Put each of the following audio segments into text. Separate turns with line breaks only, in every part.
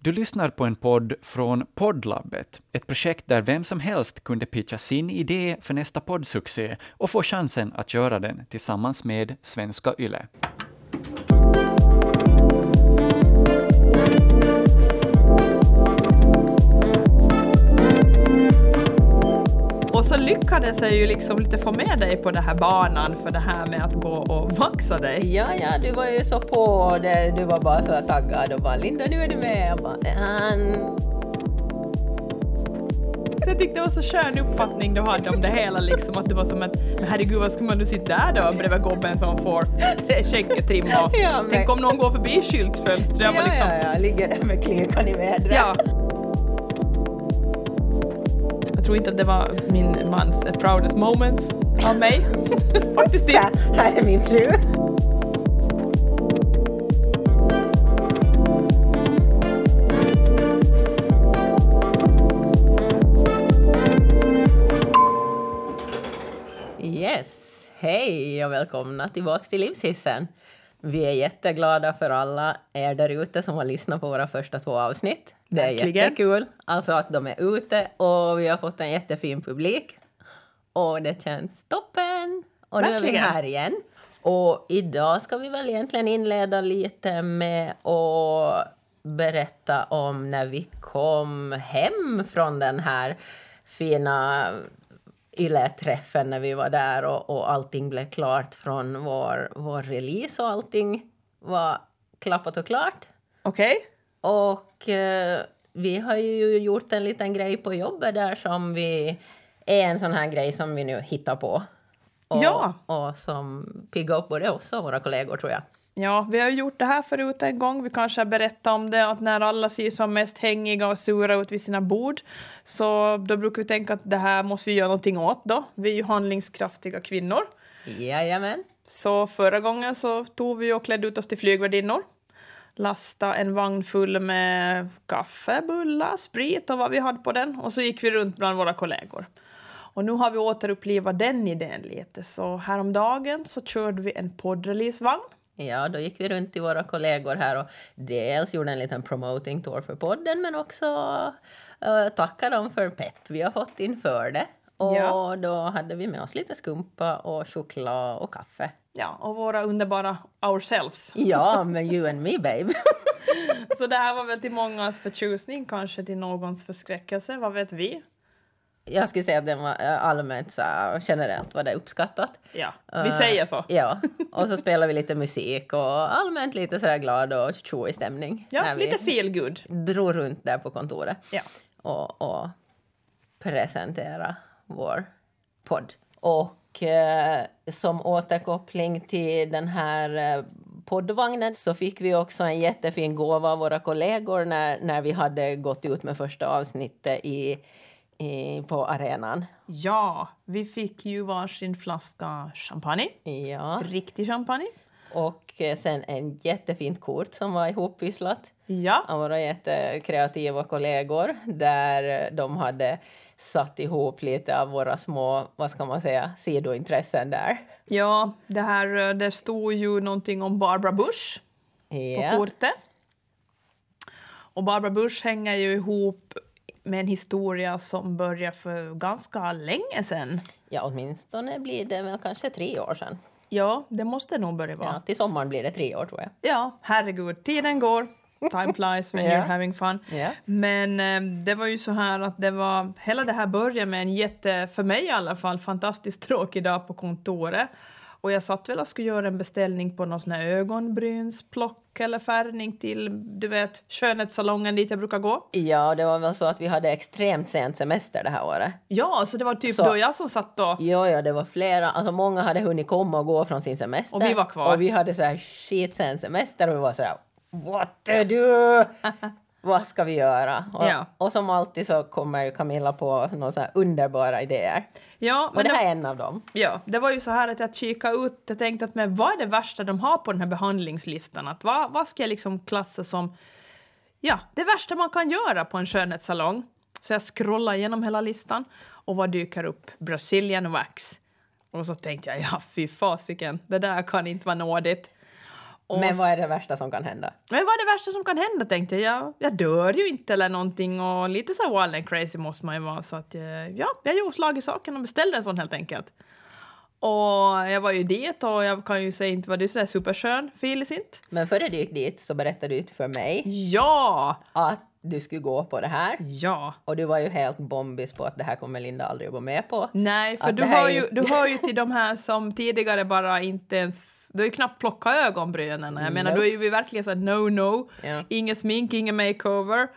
Du lyssnar på en podd från Poddlabbet, ett projekt där vem som helst kunde pitcha sin idé för nästa poddsuccé och få chansen att göra den tillsammans med Svenska Yle.
Och så lyckades jag ju liksom lite få med dig på den här banan för det här med att gå och vaxa dig.
Ja, ja, du var ju så på det. Du var bara så taggad och bara Linda, nu är du med. Jag bara, "Ehm."
Så jag tyckte det var så skön uppfattning du hade om det hela liksom att du var som att "Men herregud vad skulle man nu sitta där då bredvid gubben som får skägget trimma.
Ja, men-
Tänk om någon går förbi skyltfönstret.
ja,
Jag var liksom,
ja, ja, ligger där med klinkan i vädret.
ja. Jag tror inte att det var min mans proudest moments av mig. Faktiskt
Så
inte.
här, här är min fru. Yes, hej och välkomna tillbaka till Livshissen. Vi är jätteglada för alla er där ute som har lyssnat på våra första två avsnitt. Det är
Verkligen.
jättekul, alltså att de är ute och vi har fått en jättefin publik. Och det känns toppen! Och nu är vi
Verkligen.
här igen. Och idag ska vi väl egentligen inleda lite med att berätta om när vi kom hem från den här fina YLE-träffen när vi var där och, och allting blev klart från vår, vår release och allting var klappat och klart.
Okej?
Och eh, vi har ju gjort en liten grej på jobbet där som vi är en sån här grej som vi nu hittar på. Och,
Ja.
och som piggar upp både oss och våra kollegor tror jag.
Ja, vi har ju gjort det här förut en gång. Vi kanske har berättat om det, att när alla ser som mest hängiga och sura ut vid sina bord, så då brukar vi tänka att det här måste vi göra någonting åt då. Vi är ju handlingskraftiga kvinnor.
Jajamän.
Så förra gången så tog vi och klädde ut oss till flygvärdinnor, lasta en vagn full med kaffe, bullar, sprit och vad vi hade på den och så gick vi runt bland våra kollegor. Och nu har vi återupplivat den idén lite, så häromdagen så körde vi en poddreleasevagn
Ja, då gick vi runt till våra kollegor här och dels gjorde en liten promoting tour för podden men också eh, tackade dem för pepp vi har fått inför det. Och
Ja.
då hade vi med oss lite skumpa och choklad och kaffe.
Ja, och våra underbara ourselves.
Ja, men you and me babe.
Så det här var väl till mångas förtjusning, kanske till någons förskräckelse, vad vet vi?
Jag skulle säga att den var eh, allmänt så här, generellt var det uppskattat.
Ja, vi
Eh,
säger så.
Ja, och så spelar vi lite musik och allmänt lite sådär glad och tjoig stämning.
Ja,
när vi
lite feel good.
drog runt där på kontoret
Ja.
och, och presentera vår podd. Och eh, som återkoppling till den här eh, poddvagnen så fick vi också en jättefin gåva av våra kollegor när, när vi hade gått ut med första avsnittet i, i, på arenan.
Ja, vi fick ju varsin flaska champagne.
Ja.
Riktig champagne.
Och eh, sen en jättefint kort som var ihoppysslat
Ja,
av våra jättekreativa kollegor där eh, de hade satt ihop lite av våra små, vad ska man säga, sidointressen där.
ja det här eh, det stod ju någonting om Barbara Bush på
Ja,
kortet. Och Barbara Bush hänger ju ihop med en historia som börjar för ganska länge sedan.
ja åtminstone blir det väl kanske tre år sedan.
Ja, det måste nog börja vara.
Ja, till sommaren blir det tre år tror jag.
Ja, herregud, tiden går. Time flies when
Ja.
you're having fun.
Ja.
Men eh, det var ju så här att det var, hela det här började med en jätte, för mig i alla fall, fantastiskt tråkig dag på kontoret. Och jag satt väl och skulle göra en beställning på någon sån här ögonbrynsplock eller färgning till, du vet, skönhetssalongen dit jag brukar gå.
Ja, det var väl så att vi hade extremt sent semester det här året.
Ja, så det var typ
Så-
då jag som satt och...
Ja, ja, det var flera. Alltså många hade hunnit komma och gå från sin semester.
Och vi var kvar.
Och vi hade så här shit sen semester och vi var så här What the do? Vad ska vi göra? Och,
Ja.
och som alltid så kommer ju Camilla på några så här underbara idéer.
Ja,
Och
men
det
det,
här är en av dem.
ja, det var ju så här att jag kikade ut, jag tänkte att men vad är det värsta de har på den här behandlingslistan? Att vad, vad ska jag liksom klassa som ja, det värsta man kan göra på en skönhetssalong. Så jag scrollar igenom hela listan och vad dyker upp? Brazilian wax. Och så tänkte jag, ja fy fasiken, det där kan inte vara nådigt. Och
Men vad är det värsta som kan hända?
Men vad är det värsta som kan hända tänkte jag. Jag, jag dör ju inte eller någonting och lite så här wild and crazy måste man ju vara så att eh, ja, jag gjorde slag i saken och beställde en sån helt enkelt. Och jag var ju dit och jag kan ju säga inte var det sådär superskön, Filis inte.
Men före du gick dit så berättade du för mig
Ja!
att du skulle gå på det här.
Ja!
Och du var ju helt bombis på att det här kommer Linda aldrig att gå med på.
Nej, för
Att
du,
det här
hör
är ju-
ju, du hör ju till de här som tidigare bara inte ens... Du har ju knappt plockat ögonbrynen. Jag menar,
Nope.
då är ju vi verkligen så här no, no.
Ja.
Ingen smink, ingen makeover.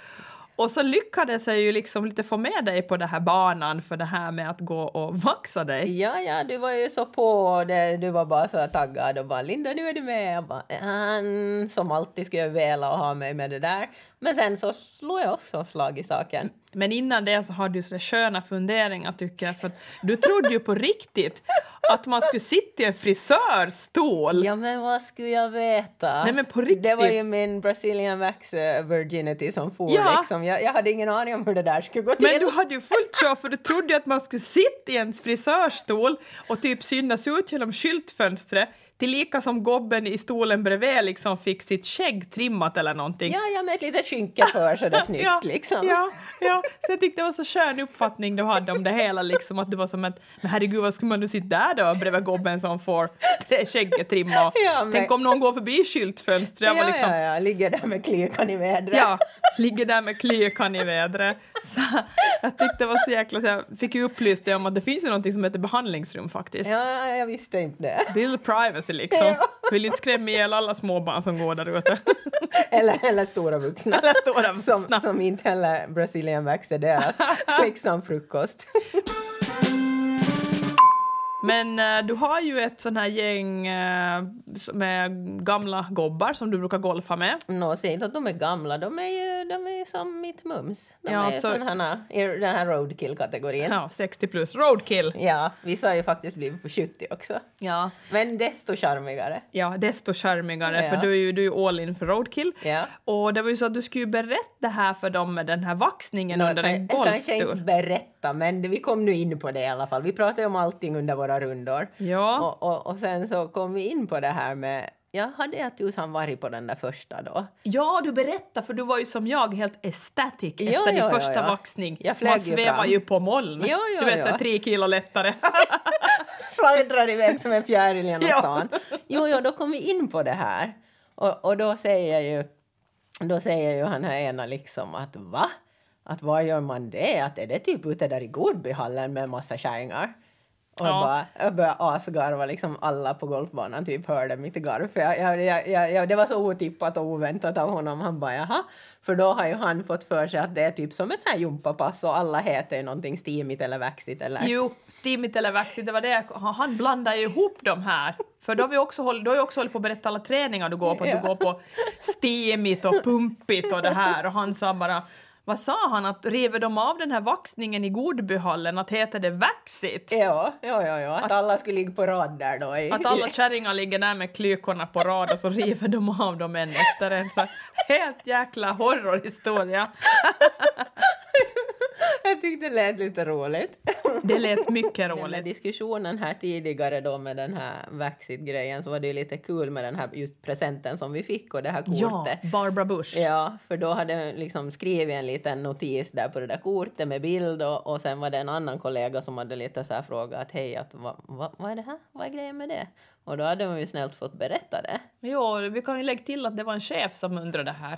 Och så lyckades jag ju liksom lite få med dig på den här banan för det här med att gå och vaxa dig.
Ja, ja, du var ju så på det. Du var bara så här taggad och bara Linda, nu är du med. Jag bara, "Mm." som alltid skulle jag vilja ha mig med det där. Men sen så slog jag också slag i saken.
Men innan det så hade du sådär sköna funderingar tycker jag. För att du trodde ju på riktigt att man skulle sitta i en frisörstol.
Ja, men vad skulle jag veta?
Nej, men på riktigt.
Det var ju min Brazilian wax eh, virginity som for
Ja.
liksom. Jag, jag hade ingen aning om hur det där skulle gå till.
Men du hade ju fullt sjå för du trodde ju att man skulle sitta i ens frisörstol och typ synas ut genom skyltfönstret tillika som gobben i stolen bredvid liksom fick sitt skägg trimmat eller någonting.
Ja, ja, med ett litet skynke för sådär snyggt
ja,
liksom.
Ja, ja, så jag tyckte det var så skön uppfattning du hade om det hela liksom att du var som att men herregud vad skulle man nu sitta där då bredvid gobben som får det skägget trimmat?
Ja, men-
Tänk om någon går förbi skyltfönstret
Ja,
och var
ja,
liksom
ja, ligger där med klirkan i vädret.
Ja, ligger där med klökan i vädret. Så, jag tyckte det var så jäkla... Så jag fick ju upplyst det om att det finns ju någonting som heter behandlingsrum faktiskt.
ja, jag visste inte det.
Bill privacy liksom.
Ja.
Vill ju inte skrämma ihjäl alla småbarn som går där ute.
Eller, eller stora vuxna.
Eller stora vuxna.
Som, som inte heller Brazilian Wax är deras liksom frukost.
Men eh, du har ju ett sån här gäng eh, som är gamla gobbar som du brukar golfa med.
Nå, säg inte att de är gamla, de är ju, de är ju som mitt mums. De
Ja,
är
alltså-
sådana, i den här roadkill-kategorin. Ja.
Ja, 60 plus roadkill.
vissa har ju faktiskt blivit på 70 också.
Ja.
Men desto charmigare.
Ja, desto charmigare
Ja.
för du är ju, du är ju all in för roadkill.
Ja.
Och det var ju så att du skulle ju berätta det här för dem med den här vaxningen
Nå,
under
kan-
en
jag kanske inte
golftur.
berätta, men det- vi kom nu in på det i alla fall. Vi pratade om allting under våra rundor.
Ja.
Och, och, och sen så kom vi in på det här med... Ja, hade jag tusan varit på den där första då?
Ja, du berättade för du var ju som jag helt estetisk
Ja,
efter din
ja, ja,
första
ja.
vaxning.
Jag flög
Man
ju
svävar
fram.
ju på moln.
Ja, ja,
du vet,
ja.
så här tre kilo lättare.
fladdrar iväg som en fjäril genom
Ja.
stan. Jo, jo, då kom vi in på det här. Och, och då säger ju då säger ju han här ena liksom att va? Att var gör man det? Att är det typ ute där i Godbyhallen med en massa kärringar? Och
Ja.
bara, jag började asgarva, liksom alla på golfbanan typ hörde mitt garv. För jag, jag, jag, jag, jag, det var så otippat och oväntat av honom. Han bara jaha. För då har ju han fått för sig att det är typ som ett sånt här gympapass och alla heter ju någonting steamigt eller vaxigt eller
jo, stimmigt eller vaxigt, det var det jag- Han blandar ju ihop de här. För då har, vi också håll, då har jag också hållit på att berätta alla träningar du går på. att
Ja.
Du går på stemigt och pumpigt och det här. Och han sa bara... Vad sa han? Att river de av den här vaxningen i Godbyhallen, att heter det vaxigt?
Ja, ja, ja, ja. Att, alla skulle ligga på rad där då. I,
Att alla kärringar ligger där med klykorna på rad och så river de av dem en efter en. Så helt jäkla horrorhistoria.
Jag tyckte det lät lite roligt.
Det lät mycket
Den här
roligt.
diskussionen här tidigare då med den här Vaxit-grejen så var det ju lite kul med den här just presenten som vi fick och det här
Ja,
kortet.
Barbara Bush.
Ja, för då hade jag liksom skrivit en liten notis där på det där kortet med bild och, och sen var det en annan kollega som hade lite så här frågat att hej, att, va, va, vad är det här? Vad är grejen med det? Och då hade man ju snällt fått berätta det.
Jo, vi kan ju lägga till att det var en chef som undrade det här.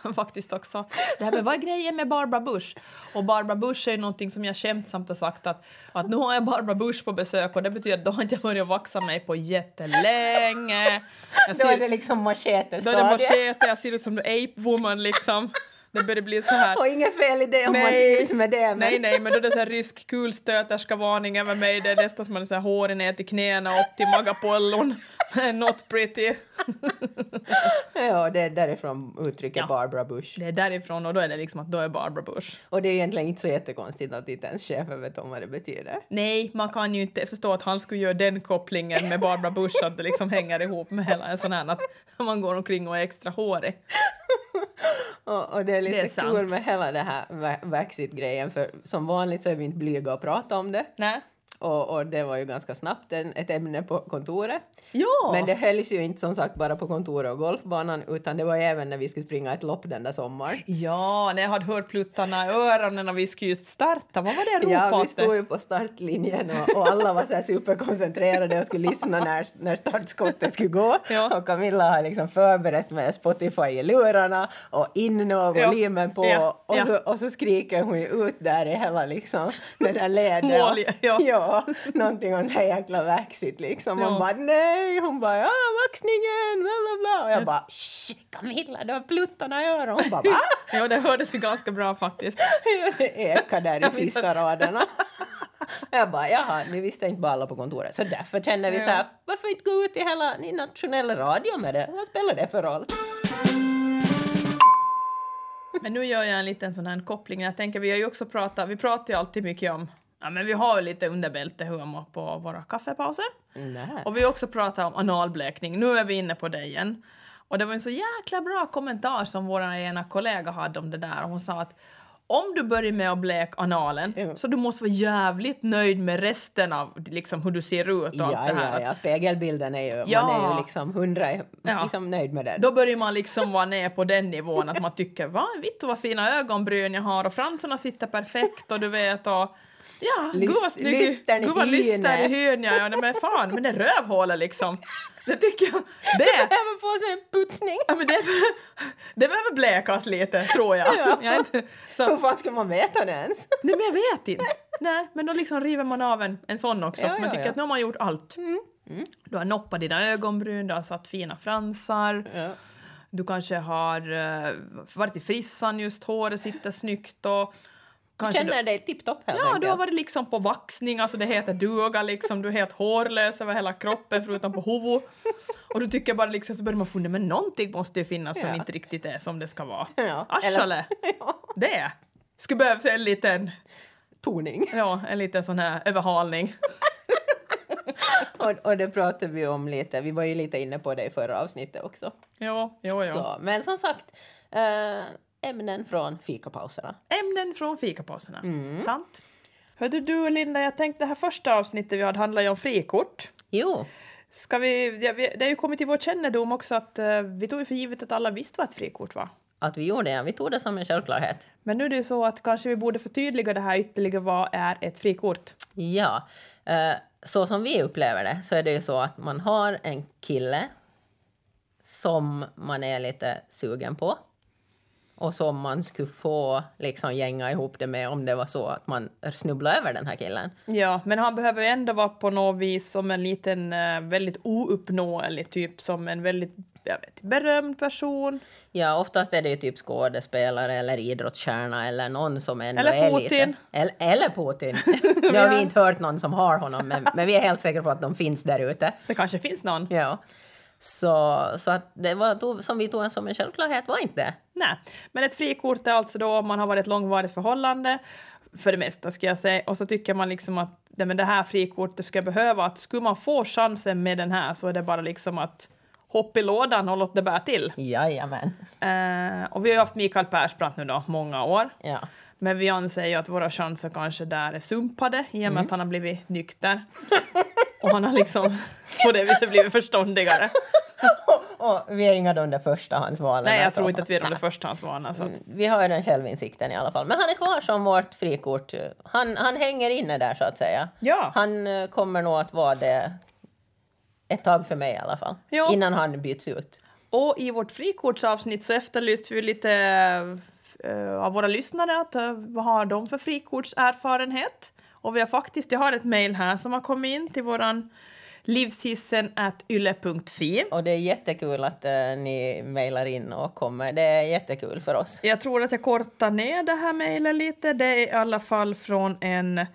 Faktiskt också. Det här med vad är grejen med Barbara Bush? Och Barbara Bush är ju någonting som jag skämtsamt har sagt att, att nu har jag Barbara Bush på besök och det betyder att då har inte jag börjat vaxa mig på jättelänge. Jag
Då
ser-
är det liksom
då är det
machete-stadiet.
machete, jag ser ut som en ape woman liksom. Det börjar bli så här.
Och inget fel i det om man trivs med det. men-
nej, nej, men då är det så här rysk kulstöterska-varning över mig. Det är nästan som att man är så här hårig ner till knäna och upp till magapollon. Not pretty.
Ja, det är därifrån uttrycket
Ja.
Barbara Bush.
Det är därifrån och då är det liksom att då är Barbara Bush.
Och det är egentligen inte så jättekonstigt att inte ens chefen vet om vad det betyder.
Nej, man kan ju inte förstå att han skulle göra den kopplingen med Barbara Bush, att det liksom hänger ihop med hela en sån här att man går omkring och är extra hårig.
Och, och det är
Det är
lite
sant.
kul med hela det här va- Vaxit-grejen för som vanligt så är vi inte blyga att prata om det.
Nej.
Och, och det var ju ganska snabbt en, ett ämne på kontoret.
Ja!
Men det hölls ju inte som sagt bara på kontoret och golfbanan utan det var ju även när vi skulle springa ett lopp den där sommaren.
Ja, när jag hade hört pluttarna i öronen när vi skulle just starta. Vad var det jag ropade åt
Ja, vi
dig?
stod ju på startlinjen och, och alla var så här superkoncentrerade och skulle lyssna när, när startskottet skulle gå.
Ja.
Och Camilla har liksom förberett med Spotify i lurarna och in och
Ja.
volymen på
Ja.
Och,
Ja.
Så, och så skriker hon ju ut där i hela liksom, den där leden.
Mål, ja.
ja. Någonting om den här jäkla vaxit liksom. Man
Ja.
bara nej, hon bara ja, vaxningen, bla bla bla. Och jag bara shh, Camilla, du har pluttarna i öronen. Hon bara va?
Ja, det hördes ju ganska bra faktiskt.
Det ekar där i
Jag minns
sista
att-
raderna. Jag bara, jaha, nu visste inte bara alla på kontoret. Så därför känner vi så här, varför inte gå ut i hela ni nationella radio med det? Vad spelar det för roll?
Men nu gör jag en liten sån här koppling. Jag tänker, vi har ju också pratat, vi pratar ju alltid mycket om, ja men vi har ju lite underbältehumor på våra kaffepauser.
Nej.
Och vi har också pratat om analblekning, nu är vi inne på det igen. Och det var en så jäkla bra kommentar som vår ena kollega hade om det där. Hon sa att om du börjar med att bleka analen
Ja.
så du måste vara jävligt nöjd med resten av liksom, hur du ser ut och allt
Ja,
det här.
ja, ja, spegelbilden är ju,
Ja.
man är ju liksom hundra i-
Ja.
liksom nöjd med det.
Då börjar man liksom vara ner på den nivån att man tycker va, vitt och vad fina ögonbryn jag har och fransarna sitter perfekt och du vet och ja,
Lys-
gud vad snygg,
lystern i
gud vad lyster i
hyn.
hyn jag är. Nej, Men fan, men det rövhålet liksom. Det tycker jag, det,
Även få sig en putsning!
ja, men det, det behöver bläkas lite tror jag.
Ja.
jag är inte, så,
Hur fan ska man veta det ens?
nej men jag vet inte. Nej, men då liksom river man av en, en sån också
Ja,
för man
ja,
tycker
ja. Mm.
att nu har man gjort allt. Mm. Du har noppat dina ögonbryn, du har satt fina fransar.
Ja.
Du kanske har eh, varit i frissan just, håret sitter snyggt och... Kanske
Känner dig tipptopp helt
ja,
enkelt.
du har varit liksom på vaxning, alltså det heter duga liksom, du är helt hårlös över hela kroppen förutom på huvudet. Och du tycker bara liksom, så börjar man fundera, men någonting måste ju finnas som
Ja.
inte riktigt är som det ska vara.
Ja,
Aschale!
eller- Ja,
Det! Skulle behövas en liten,
toning.
ja, en liten sån här överhalning.
Och, och det pratade vi om lite, vi var ju lite inne på det i förra avsnittet också.
Ja, ja, ja.
Så, men som sagt, eh, ämnen från fikapauserna.
Ämnen från fikapauserna. Sant. Mm. Hörde du Linda, jag tänkte det här första avsnittet vi hade handlade ju om frikort.
Jo.
Ska vi, ja, vi, det har ju kommit till vår kännedom också att eh, vi tog ju för givet att alla visste vad ett frikort var.
Att vi gjorde det, vi tog det som en självklarhet.
Men nu är det ju så att kanske vi borde förtydliga det här ytterligare. Vad är ett frikort?
Ja. eh, så som vi upplever det så är det ju så att man har en kille som man är lite sugen på och som man skulle få liksom gänga ihop det med om det var så att man snubblade över den här killen.
Ja, men han behöver ju ändå vara på något vis som en liten eh, väldigt ouppnåelig typ, som en väldigt jag vet, berömd person.
Ja, oftast är det ju typ skådespelare eller idrottsstjärna eller någon som ändå
Eller
är
Putin.
lite... Eller, eller Putin! Nu har
Ja.
vi inte hört någon som har honom, men, men vi är helt säkra på att de finns där ute.
Det kanske finns någon.
Ja. Så, så att det var tog, som vi tog en som en självklarhet var inte det.
Nej, men ett frikort är alltså då om man har varit i ett långvarigt förhållande, för det mesta ska jag säga, och så tycker man liksom att nej, men det här frikortet ska jag behöva, att skulle man få chansen med den här så är det bara liksom att hoppa i lådan och låt det bära till.
Jajamän.
Eh, och vi har ju haft Mikael Persbrandt nu då, många år.
Ja.
Men vi anser ju att våra chanser kanske där är sumpade i och med att han har blivit nykter. och han har liksom på det viset blivit förståndigare.
Och vi är ingalunda förstahandsvalen.
Nej, jag
alltså.
tror inte att vi är de där förstahandsvana. Så att,
Vi har ju den självinsikten i alla fall. Men han är kvar som vårt frikort. Han, han hänger inne där så att säga.
Ja.
Han eh, kommer nog att vara det ett tag för mig i alla fall.
Ja.
Innan han byts ut.
Och i vårt frikortsavsnitt så efterlyste vi lite eh, av våra lyssnare att eh, vad har de för frikortserfarenhet? Och vi har faktiskt, jag har ett mejl här som har kommit in till våran livshissen at yle.fi.
Och det är jättekul att eh, ni mejlar in och kommer. Det är jättekul för oss.
Jag tror att jag kortar ner det här mejlet lite. Det är i alla fall från en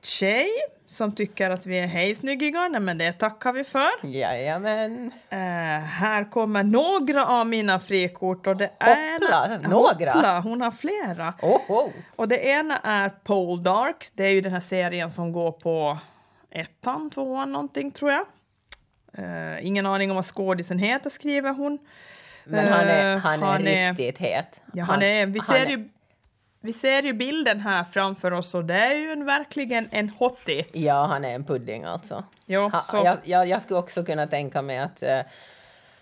tjej som tycker att vi är hej snyggiga. Nej, men det tackar vi för.
Jajamän.
Eh, här kommer några av mina frikort och det är...
Hoppla, några?
Hoppla, hon har flera.
Oh, oh.
Och det ena är Pole Dark. Det är ju den här serien som går på ettan, tvåan någonting tror jag. Eh, ingen aning om vad skådisen heter skriver hon.
Men han är,
Eh,
han är
han är-
riktigt het.
Ja, han är, vi ser
han-
ju Vi ser ju bilden här framför oss och det är ju en, verkligen en hottie.
Ja, han är en pudding alltså.
Jo,
ha,
så-
jag, jag, jag skulle också kunna tänka mig att, eh,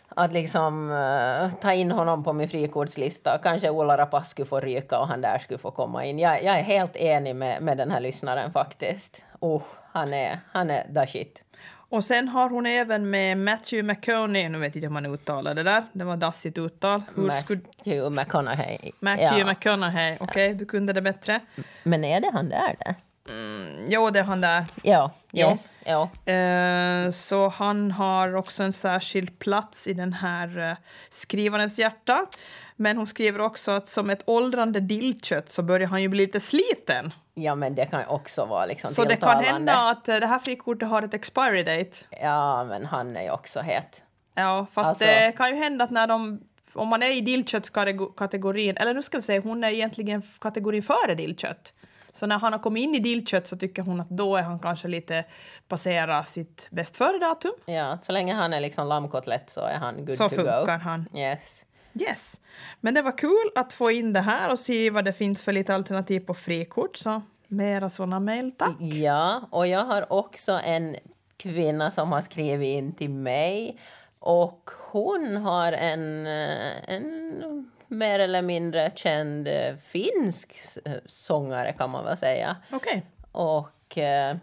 att liksom eh, ta in honom på min frikordslista. Kanske Ola Rapace skulle få ryka och han där skulle få komma in. Jag, jag är helt enig med, med den här lyssnaren faktiskt. Oh, han är, han är the shit.
Och sen har hon även med Matthew McConaughey, nu vet jag inte hur man uttalar det där, det var dassigt uttal. Hur skulle...
Matthew McConaughey.
Matthew
Ja.
McConaughey, okej, du kunde det bättre.
Men är det han där? det?
Mm, jo, det är han där.
Ja,
Ja.
yes, ja.
Eh, så han har också en särskild plats i den här eh, skrivarens hjärta. Men hon skriver också att som ett åldrande dillkött så börjar han ju bli lite sliten.
Ja, men det kan ju också vara liksom
Så det kan
tilltalande.
hända att eh, det här frikortet har ett expiry date.
Ja, men han är ju också het.
Ja, fast
Alltså-
det kan ju hända att när de... Om man är i dillköttskategorin, eller nu ska vi säga, hon är egentligen f- kategorin före dillkött. Så när han har kommit in i dillkött så tycker hon att då är han kanske lite passera sitt bäst före-datum.
Ja, så länge han är liksom lammkotlett så är han good
Så
to
funkar
go.
han.
Yes.
Yes. Men det var kul att få in det här och se vad det finns för lite alternativ på frikort. Så mera såna mejl, tack.
Ja, och jag har också en kvinna som har skrivit in till mig. Och hon har en, eh, en mer eller mindre känd eh, finsk eh, sångare kan man väl säga.
Okej.
Och, eh,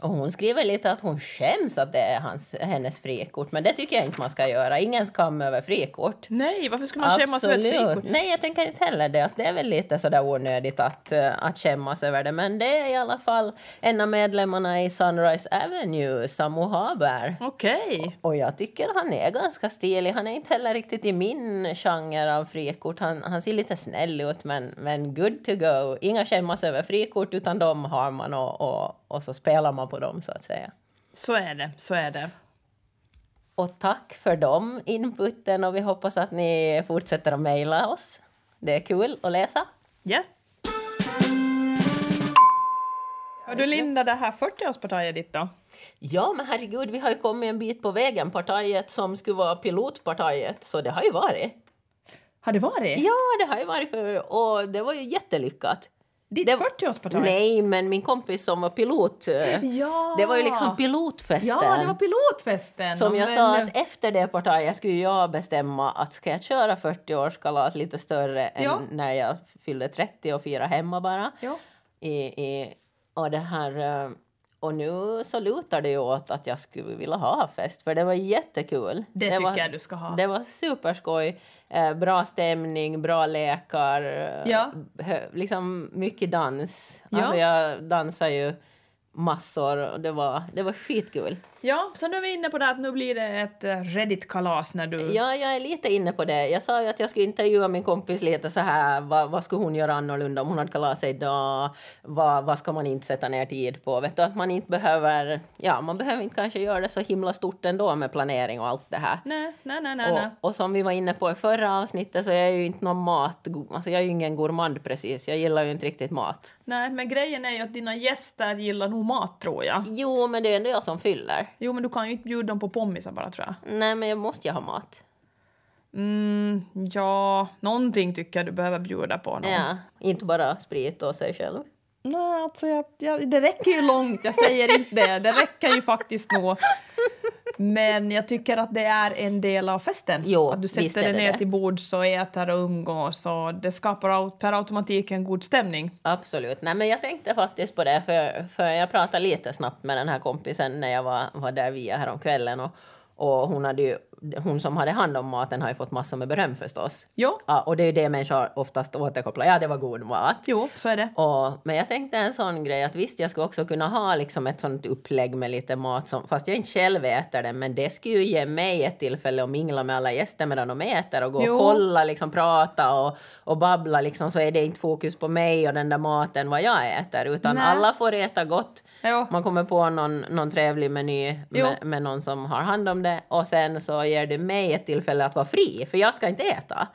och hon skriver lite att hon skäms att det är hans, hennes frikort. Men det tycker jag inte man ska göra. Ingen skam över frikort.
Nej, varför skulle man skämmas över ett frikort?
Nej, jag tänker inte heller det. Att det är väl lite sådär onödigt att, eh, att skämmas över det. Men det är i alla fall en av medlemmarna i Sunrise Avenue, Samu Haber.
Okej.
Och jag tycker han är ganska stilig. Han är inte heller riktigt i min genre av frikort. Han, han ser lite snäll ut, men, men good to go. Inga skämmas över frikort, utan de har man och, och, och så spelar man på dem, så att säga.
Så är det, så är det.
Och tack för de inputen och vi hoppas att ni fortsätter att mejla oss. Det är kul att läsa.
Ja. Har du Linda det här 40-årspartiet ditt då?
Ja, men herregud, vi har ju kommit en bit på vägen. Partiet som skulle vara pilotpartiet, så det har ju varit.
Har det varit?
Ja, det har ju varit för... Och det var ju jättelyckat.
Ditt
det-
40-årsparti?
Nej, men min kompis som var pilot. eh,
Ja.
Det var ju liksom pilotfesten.
Ja, det var pilotfesten!
som jag
Men- eh,
sa att efter det partiet skulle jag bestämma att ska jag köra 40-årskalas lite större än
Ja.
när jag fyllde 30 och fira hemma bara.
Ja.
I, i, och, det här, eh, och nu så lutar det ju åt att jag skulle vilja ha fest, för det var jättekul.
Det tycker
var,
jag du ska ha.
Det var superskoj. Eh, bra stämning, bra lekar, eh,
Ja.
hö- liksom mycket dans.
Ja.
Alltså jag dansar ju massor och det var, det var skitkul.
ja, så nu är vi inne på det att nu blir det ett eh, Reddit-kalas när du...
Ja, jag är lite inne på det. Jag sa ju att jag skulle intervjua min kompis lite så här. Vad, vad skulle hon göra annorlunda om hon hade kalas idag? Vad, vad ska man inte sätta ner tid på? Vet du, att man inte behöver... Ja, man behöver inte kanske göra det så himla stort ändå med planering och allt det här.
Nej, nej, nej, nej. nej.
Och, och som vi var inne på i förra avsnittet så är jag ju inte någon mat... Alltså jag är ju ingen gourmand precis. Jag gillar ju inte riktigt mat.
nej, men grejen är ju att dina gäster gillar nog mat tror jag.
Jo, men det är ändå jag som fyller.
Jo, men du kan ju inte bjuda dem på pommisar bara tror jag.
Nej, men jag måste ju ha mat.
Mm, ja, någonting tycker jag du behöver bjuda på. Någon.
Ja, inte bara sprit och sig själv.
Nej, alltså jag, jag, det räcker ju långt, jag säger inte det. Det räcker ju faktiskt nå. Men jag tycker att det är en del av festen.
Jo,
att du
visst
sätter
är
dig
det
ner
det.
till bords och äter och umgås. Och det skapar au- per automatik en god stämning.
Absolut. Nej, men jag tänkte faktiskt på det, för, för jag pratade lite snabbt med den här kompisen när jag var, var där via häromkvällen. Och, och hon, hade ju, hon som hade hand om maten har ju fått massor med beröm förstås.
Ja,
Ja, och det är ju det människor oftast återkopplar. Ja, det var god mat.
jo, så är det.
Och, men jag tänkte en sån grej att visst, jag skulle också kunna ha liksom ett sånt upplägg med lite mat, som, fast jag inte själv äter det, men det skulle ju ge mig ett tillfälle att mingla med alla gäster medan de äter och gå
Jo.
och kolla, liksom, prata och, och babbla, liksom, så är det inte fokus på mig och den där maten, vad jag äter, utan
Nej.
alla får äta gott.
Jo.
Man kommer på någon, någon trevlig meny
Jo.
med, med någon som har hand om det och sen så ger det mig ett tillfälle att vara fri, för jag ska inte äta.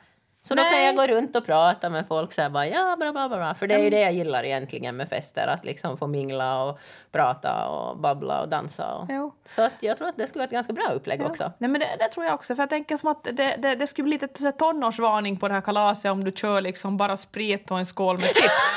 Så då kan
Nej. Mm.
jag gå runt och prata med folk så här bara ja, bra, bra, bra. För det är ju det jag gillar egentligen med fester, att liksom få mingla och prata och babbla och dansa. Och.
Jo.
Så att jag tror att det skulle vara ett ganska bra upplägg också.
Nej men det, det tror jag också, för jag tänker som att det, det, det skulle bli lite så här tonårsvarning på det här kalaset om du kör liksom bara sprit och en skål med chips.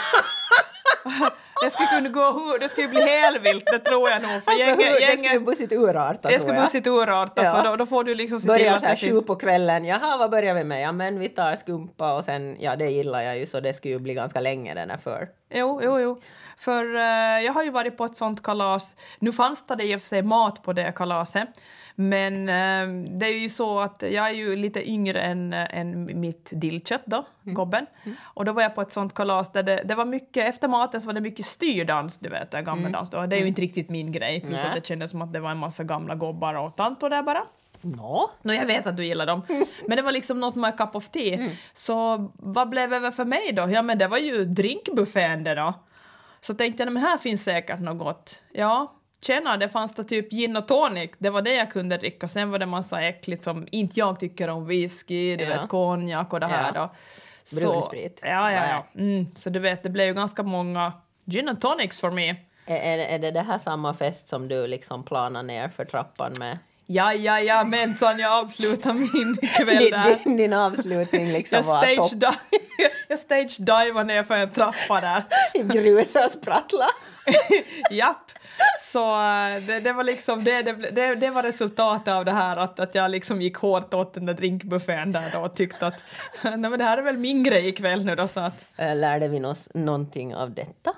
det skulle kunna gå hur, det skulle bli helvilt, det tror jag nog. För
Alltså, hur,
gänget-
det
gänget-
skulle bussigt urarta
det
tror
skulle
jag.
bussigt urarta,
Ja.
för då, då får du liksom se till
Börjar
att
så här
det
sju
finns...
på kvällen, jaha vad börjar vi med? Ja men vi tar skumpa och sen, ja det gillar jag ju så det skulle ju bli ganska länge den här för.
Jo, jo, jo. För eh, jag har ju varit på ett sånt kalas. Nu fanns det i och för sig mat på det kalaset. Men eh, det är ju så att jag är ju lite yngre än, eh, än mitt dillkött då, gobben. Och då var jag på ett sånt kalas där det, det var mycket, efter maten så var det mycket styrdans, du vet, gammeldans. Mm. Det är ju inte riktigt min grej. Plus
Nej.
att det kändes som att det var en massa gamla gobbar och tantor där bara.
Nå?
Nå, jag vet att du gillar dem. Men det var liksom något med cup of tea.
Mm.
Så vad blev över för mig då? Ja, men det var ju drinkbuffén det då. Så tänkte jag, "Nej, men här finns säkert något gott. Ja, tjena, det fanns det typ gin och tonic. Det var det jag kunde dricka. Sen var det massa äckligt som inte jag tycker om whisky, du
Ja.
vet konjak och det här
Ja.
då.
Brun sprit.
Ja, ja,
Ja,
ja. Mm, så du vet, det blev ju ganska många gin and tonics för mig.
Är, är, är det det här samma fest som du liksom planar ner för trappan med?
Ja, ja, ja, mensan jag avslutar min kväll
Din,
där.
din, din avslutning liksom
Jag
var
stage,
topp
dive, jag stage divar ner för en trappa där.
i grus och sprattla.
Japp. Så eh, det, det var liksom det, det, ble- det, det var resultatet av det här att, att jag liksom gick hårt åt den där drinkbuffén där då och tyckte att nej men det här är väl min grej ikväll nu då så att
Eh, Lärde vi oss någonting av detta?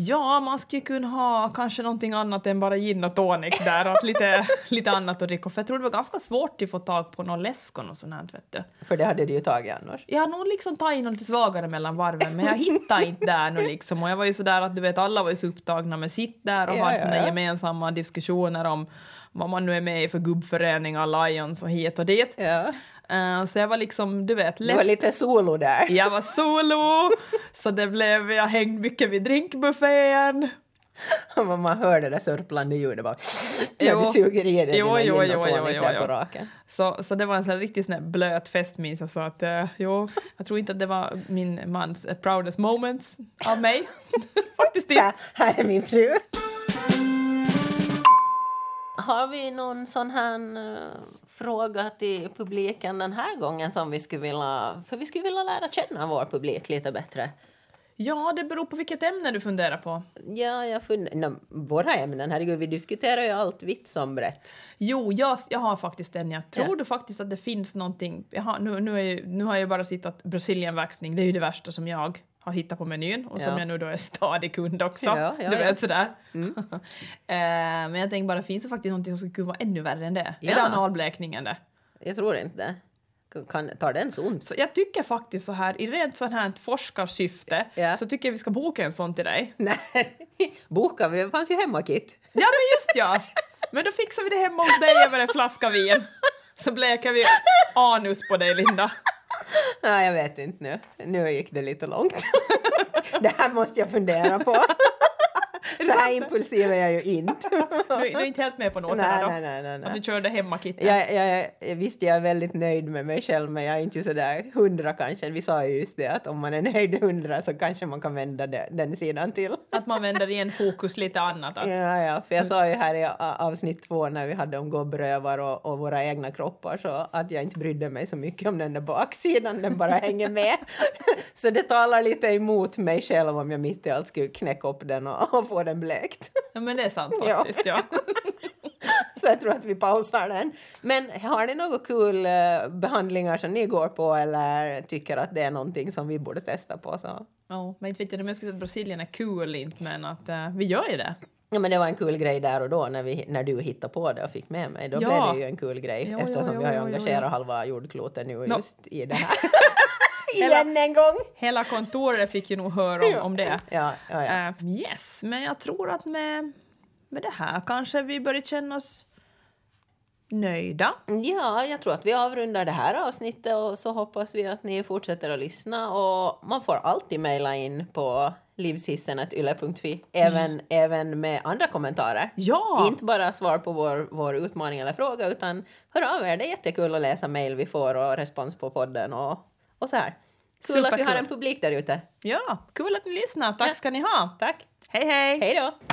ja man skulle kunna ha kanske någonting annat än bara gin och tonic där och att lite, lite annat att dricka för jag tror det var ganska svårt att få tag på någon läsk och något sånt här vet du.
För det hade du ju tagit annars.
Jag har nog liksom tagit något lite svagare mellan varven men jag hittade inte där nu liksom och jag var ju sådär att du vet alla var ju så upptagna med sitt där och
Ja,
hade
ja,
sina
ja.
gemensamma diskussioner om vad man nu är med i för gubbföreningar, Lions och hit och dit.
Ja.
Eh, så jag var liksom, du vet,
Du var
left
lite solo där.
jag var solo, så det blev, jag hängde mycket vid drinkbuffén.
Vad Man hörde det där sörplande ljudet bara.
Jo.
När du suger i dig
Jo,
dina
jo,
gin
jo,
och
jo,
tonic
jo,
där
jo.
på raken.
Så, så det var en sån här riktigt sån här blöt fest minns jag så att eh, jo, jag tror inte att det var min mans eh, proudest moments av mig. Faktiskt
Så
inte.
här, här är min fru. Har vi någon sån här eh, fråga till publiken den här gången som vi skulle vilja... För vi skulle vilja lära känna vår publik lite bättre.
Ja, det beror på vilket ämne du funderar på.
Ja, jag funderar... våra ämnen, herregud, vi diskuterar ju allt vitt som brett.
Jo, jag, jag har faktiskt en. Jag tror du faktiskt att det finns någonting. Jag har, nu, nu, är, ju- nu har jag bara sittat brasilienvaxning, det är ju det värsta som jag har hittat på menyn och som
Ja.
jag nu då är stadig kund också.
Ja, ja,
du
ja. Mm.
vet sådär. Eh, men jag tänker bara, finns det faktiskt någonting som skulle kunna vara ännu värre än det?
Ja.
Är det analblekningen det?
Jag tror inte det. Kan- Kan, tar den så ont?
Så jag tycker faktiskt så här, i rent sånt här forskarsyfte,
Ja.
så tycker jag vi ska boka en sån till dig.
Nej, bokar vi? Det fanns ju hemmakit.
Ja men just ja! Men då fixar vi det hemma hos dig över en flaska vin. Så blekar vi anus på dig Linda.
Nej, jag vet inte nu. Nu gick det lite långt. det här måste jag fundera på. Så här impulsiv är jag ju inte.
Du, du är inte helt med på noterna
Nej,
då?
nej, nej, nej,
Att
nej.
du körde hemmakitten?
Jag, jag, jag- visst, jag är väldigt nöjd med mig själv, men jag är inte så där hundra kanske. Vi sa ju just det att om man är nöjd hundra så kanske man kan vända det, den sidan till.
Att man vänder igen fokus lite annat? Att,
Ja, ja, för jag sa ju här i a- avsnitt två när vi hade om gobbrövar och, och våra egna kroppar så att jag inte brydde mig så mycket om den där baksidan, den bara hänger med. så det talar lite emot mig själv om jag mitt i allt skulle knäcka upp den och, och få den blekt.
Ja men det är sant
Ja.
faktiskt ja.
så jag tror att vi pausar den. Men har ni några kul eh, behandlingar som ni går på eller tycker att det är någonting som vi borde testa på så
Ja, men inte vet jag om jag skulle säga att Brasilien är kul inte men att eh, vi gör ju det.
Ja, men det var en kul grej där och då när, vi, när du hittade på det och fick med mig. Då
Ja.
blev det ju en kul grej
Ja, ja,
eftersom
ja,
jag har ju
ja, ja,
engagerat
ja.
halva jordklotet nu
Nå.
just i det här. Igen en gång!
Hela kontoret fick ju nog höra om, om det.
Ja, ja, ja.
Eh, yes, men jag tror att med, med det här kanske vi börjar känna oss nöjda.
ja, jag tror att vi avrundar det här avsnittet och så hoppas vi att ni fortsätter att lyssna. Och man får alltid mejla in på livshissen.yle.fi även, även med andra kommentarer.
Ja!
Inte bara svar på vår, vår utmaning eller fråga utan hör av er, det är jättekul att läsa mejl vi får och respons på podden och och så här. Kul att vi
Superkul.
har en publik där ute.
Ja, kul att ni lyssnar. Tack ska ni ha.
Tack.
Hej, hej!
Hej då!